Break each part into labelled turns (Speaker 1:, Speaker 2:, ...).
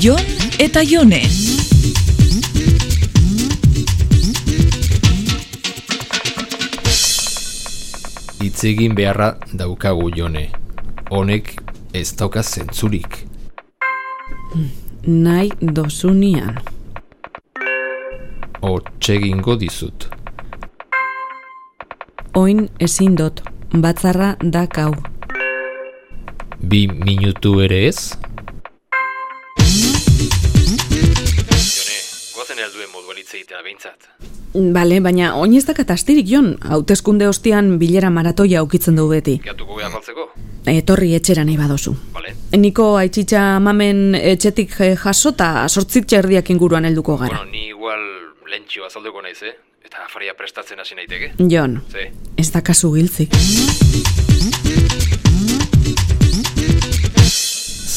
Speaker 1: Jon eta Jone.
Speaker 2: Hitz egin beharra daukagu Jone. Honek ez dauka zentzurik.
Speaker 3: nahi dozunean.
Speaker 2: Otsegingo dizut.
Speaker 3: Oin ezin dot, batzarra da kau.
Speaker 2: Bi minutu ere ez? Jone, goazen helduen moduan hitz egitea behintzat.
Speaker 3: Bale, baina oin ez dakat astirik jon, hauteskunde ostean bilera maratoia aukitzen du beti.
Speaker 2: Gatuko geha galtzeko?
Speaker 3: Etorri etxera nahi badozu.
Speaker 2: Bale.
Speaker 3: Niko aitxitxa mamen etxetik eh, jasota sortzitxe erdiak inguruan helduko gara.
Speaker 2: Bueno, ni igual lentxio azalduko naiz, eh? Eta afaria prestatzen hasi naiteke.
Speaker 3: Jon,
Speaker 2: Ze,
Speaker 3: ez dakazu giltzik.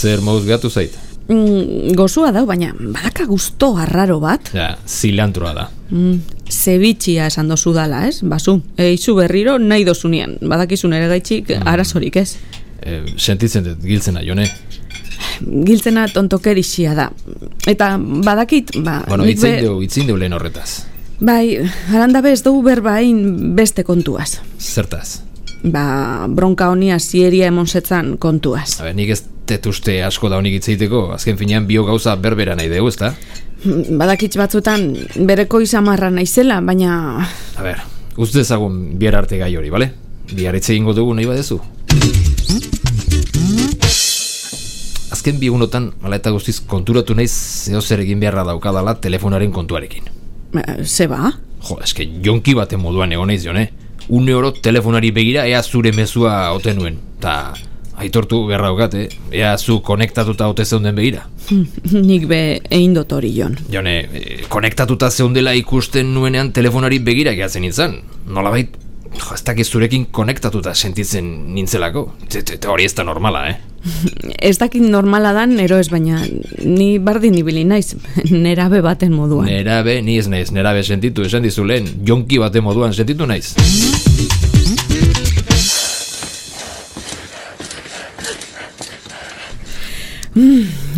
Speaker 2: zer moduz gatu zait?
Speaker 3: Mm, gozua dau, baina badaka gusto arraro bat.
Speaker 2: Ja, zilantroa da.
Speaker 3: Mm, zebitxia esan dozu dala, ez? Bazu, eizu berriro nahi dozunean. Badakizun ere gaitxik arazorik, ez?
Speaker 2: E, sentitzen dut giltzena, Jone.
Speaker 3: giltzena tontokerixia da. Eta badakit, ba...
Speaker 2: Bueno,
Speaker 3: nik
Speaker 2: itzein
Speaker 3: be-
Speaker 2: dugu, itzein dugu lehen horretaz.
Speaker 3: Bai, alandabe ez dugu berbain beste kontuaz.
Speaker 2: Zertaz?
Speaker 3: Ba, bronka honia zieria emonsetzan kontuaz.
Speaker 2: Habe, nik ez tetuste asko da honik itzeiteko, azken finean bio gauza berbera nahi dugu, ezta?
Speaker 3: Badakit batzutan bereko izamarra naizela, baina...
Speaker 2: A ber, uste dezagun bihar arte gai hori, bale? Bihar hitz egingo dugu nahi badezu. Azken bi egunotan, ala eta guztiz konturatu naiz zeo zer egin beharra daukadala telefonaren kontuarekin.
Speaker 3: eh, Ze ba?
Speaker 2: Jo, eske jonki baten moduan egon naiz jone. Une oro telefonari begira ea zure mezua ote nuen. Ta aitortu beharra daukat, eh? Ea zu konektatuta ote zeunden begira.
Speaker 3: Nik be egin dot hori jon.
Speaker 2: Jone, e, konektatuta zeundela ikusten nuenean telefonari begira gehatzen nintzen. Nolabait, jo, ez dakiz zurekin konektatuta sentitzen nintzelako. Eta hori ez da normala, eh?
Speaker 3: Ez dakit normala dan, ero ez baina ni bardin ibili naiz, nerabe baten moduan.
Speaker 2: Nerabe, ni ez naiz, nerabe sentitu, esan dizu lehen, jonki bate moduan sentitu naiz.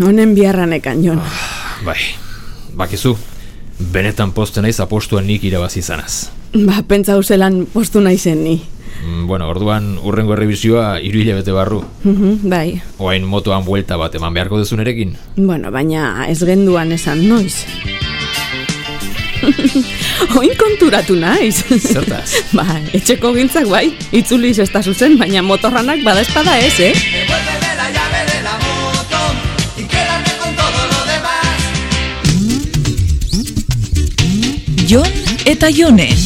Speaker 3: Honen biharranekan, Jon.
Speaker 2: Bai, bakizu, benetan poste naiz apostuan nik irabazi izanaz.
Speaker 3: Ba, pentsa zelan postu naizen ni.
Speaker 2: Mm, bueno, orduan urrengo errebisioa hiru hilabete barru.
Speaker 3: Mhm, bai,
Speaker 2: Oain motoan buelta bat eman beharko dezunerekin.
Speaker 3: Bueno, baina ez genduan esan noiz. Oin konturatu naiz.
Speaker 2: Zertaz?
Speaker 3: ba, etxeko gintzak bai, itzuliz ez da zuzen, baina motorranak bada espada ez, eh?
Speaker 4: Devuélveme la llave de la moto y quédate con todo lo demás.
Speaker 1: Jon eta Jone.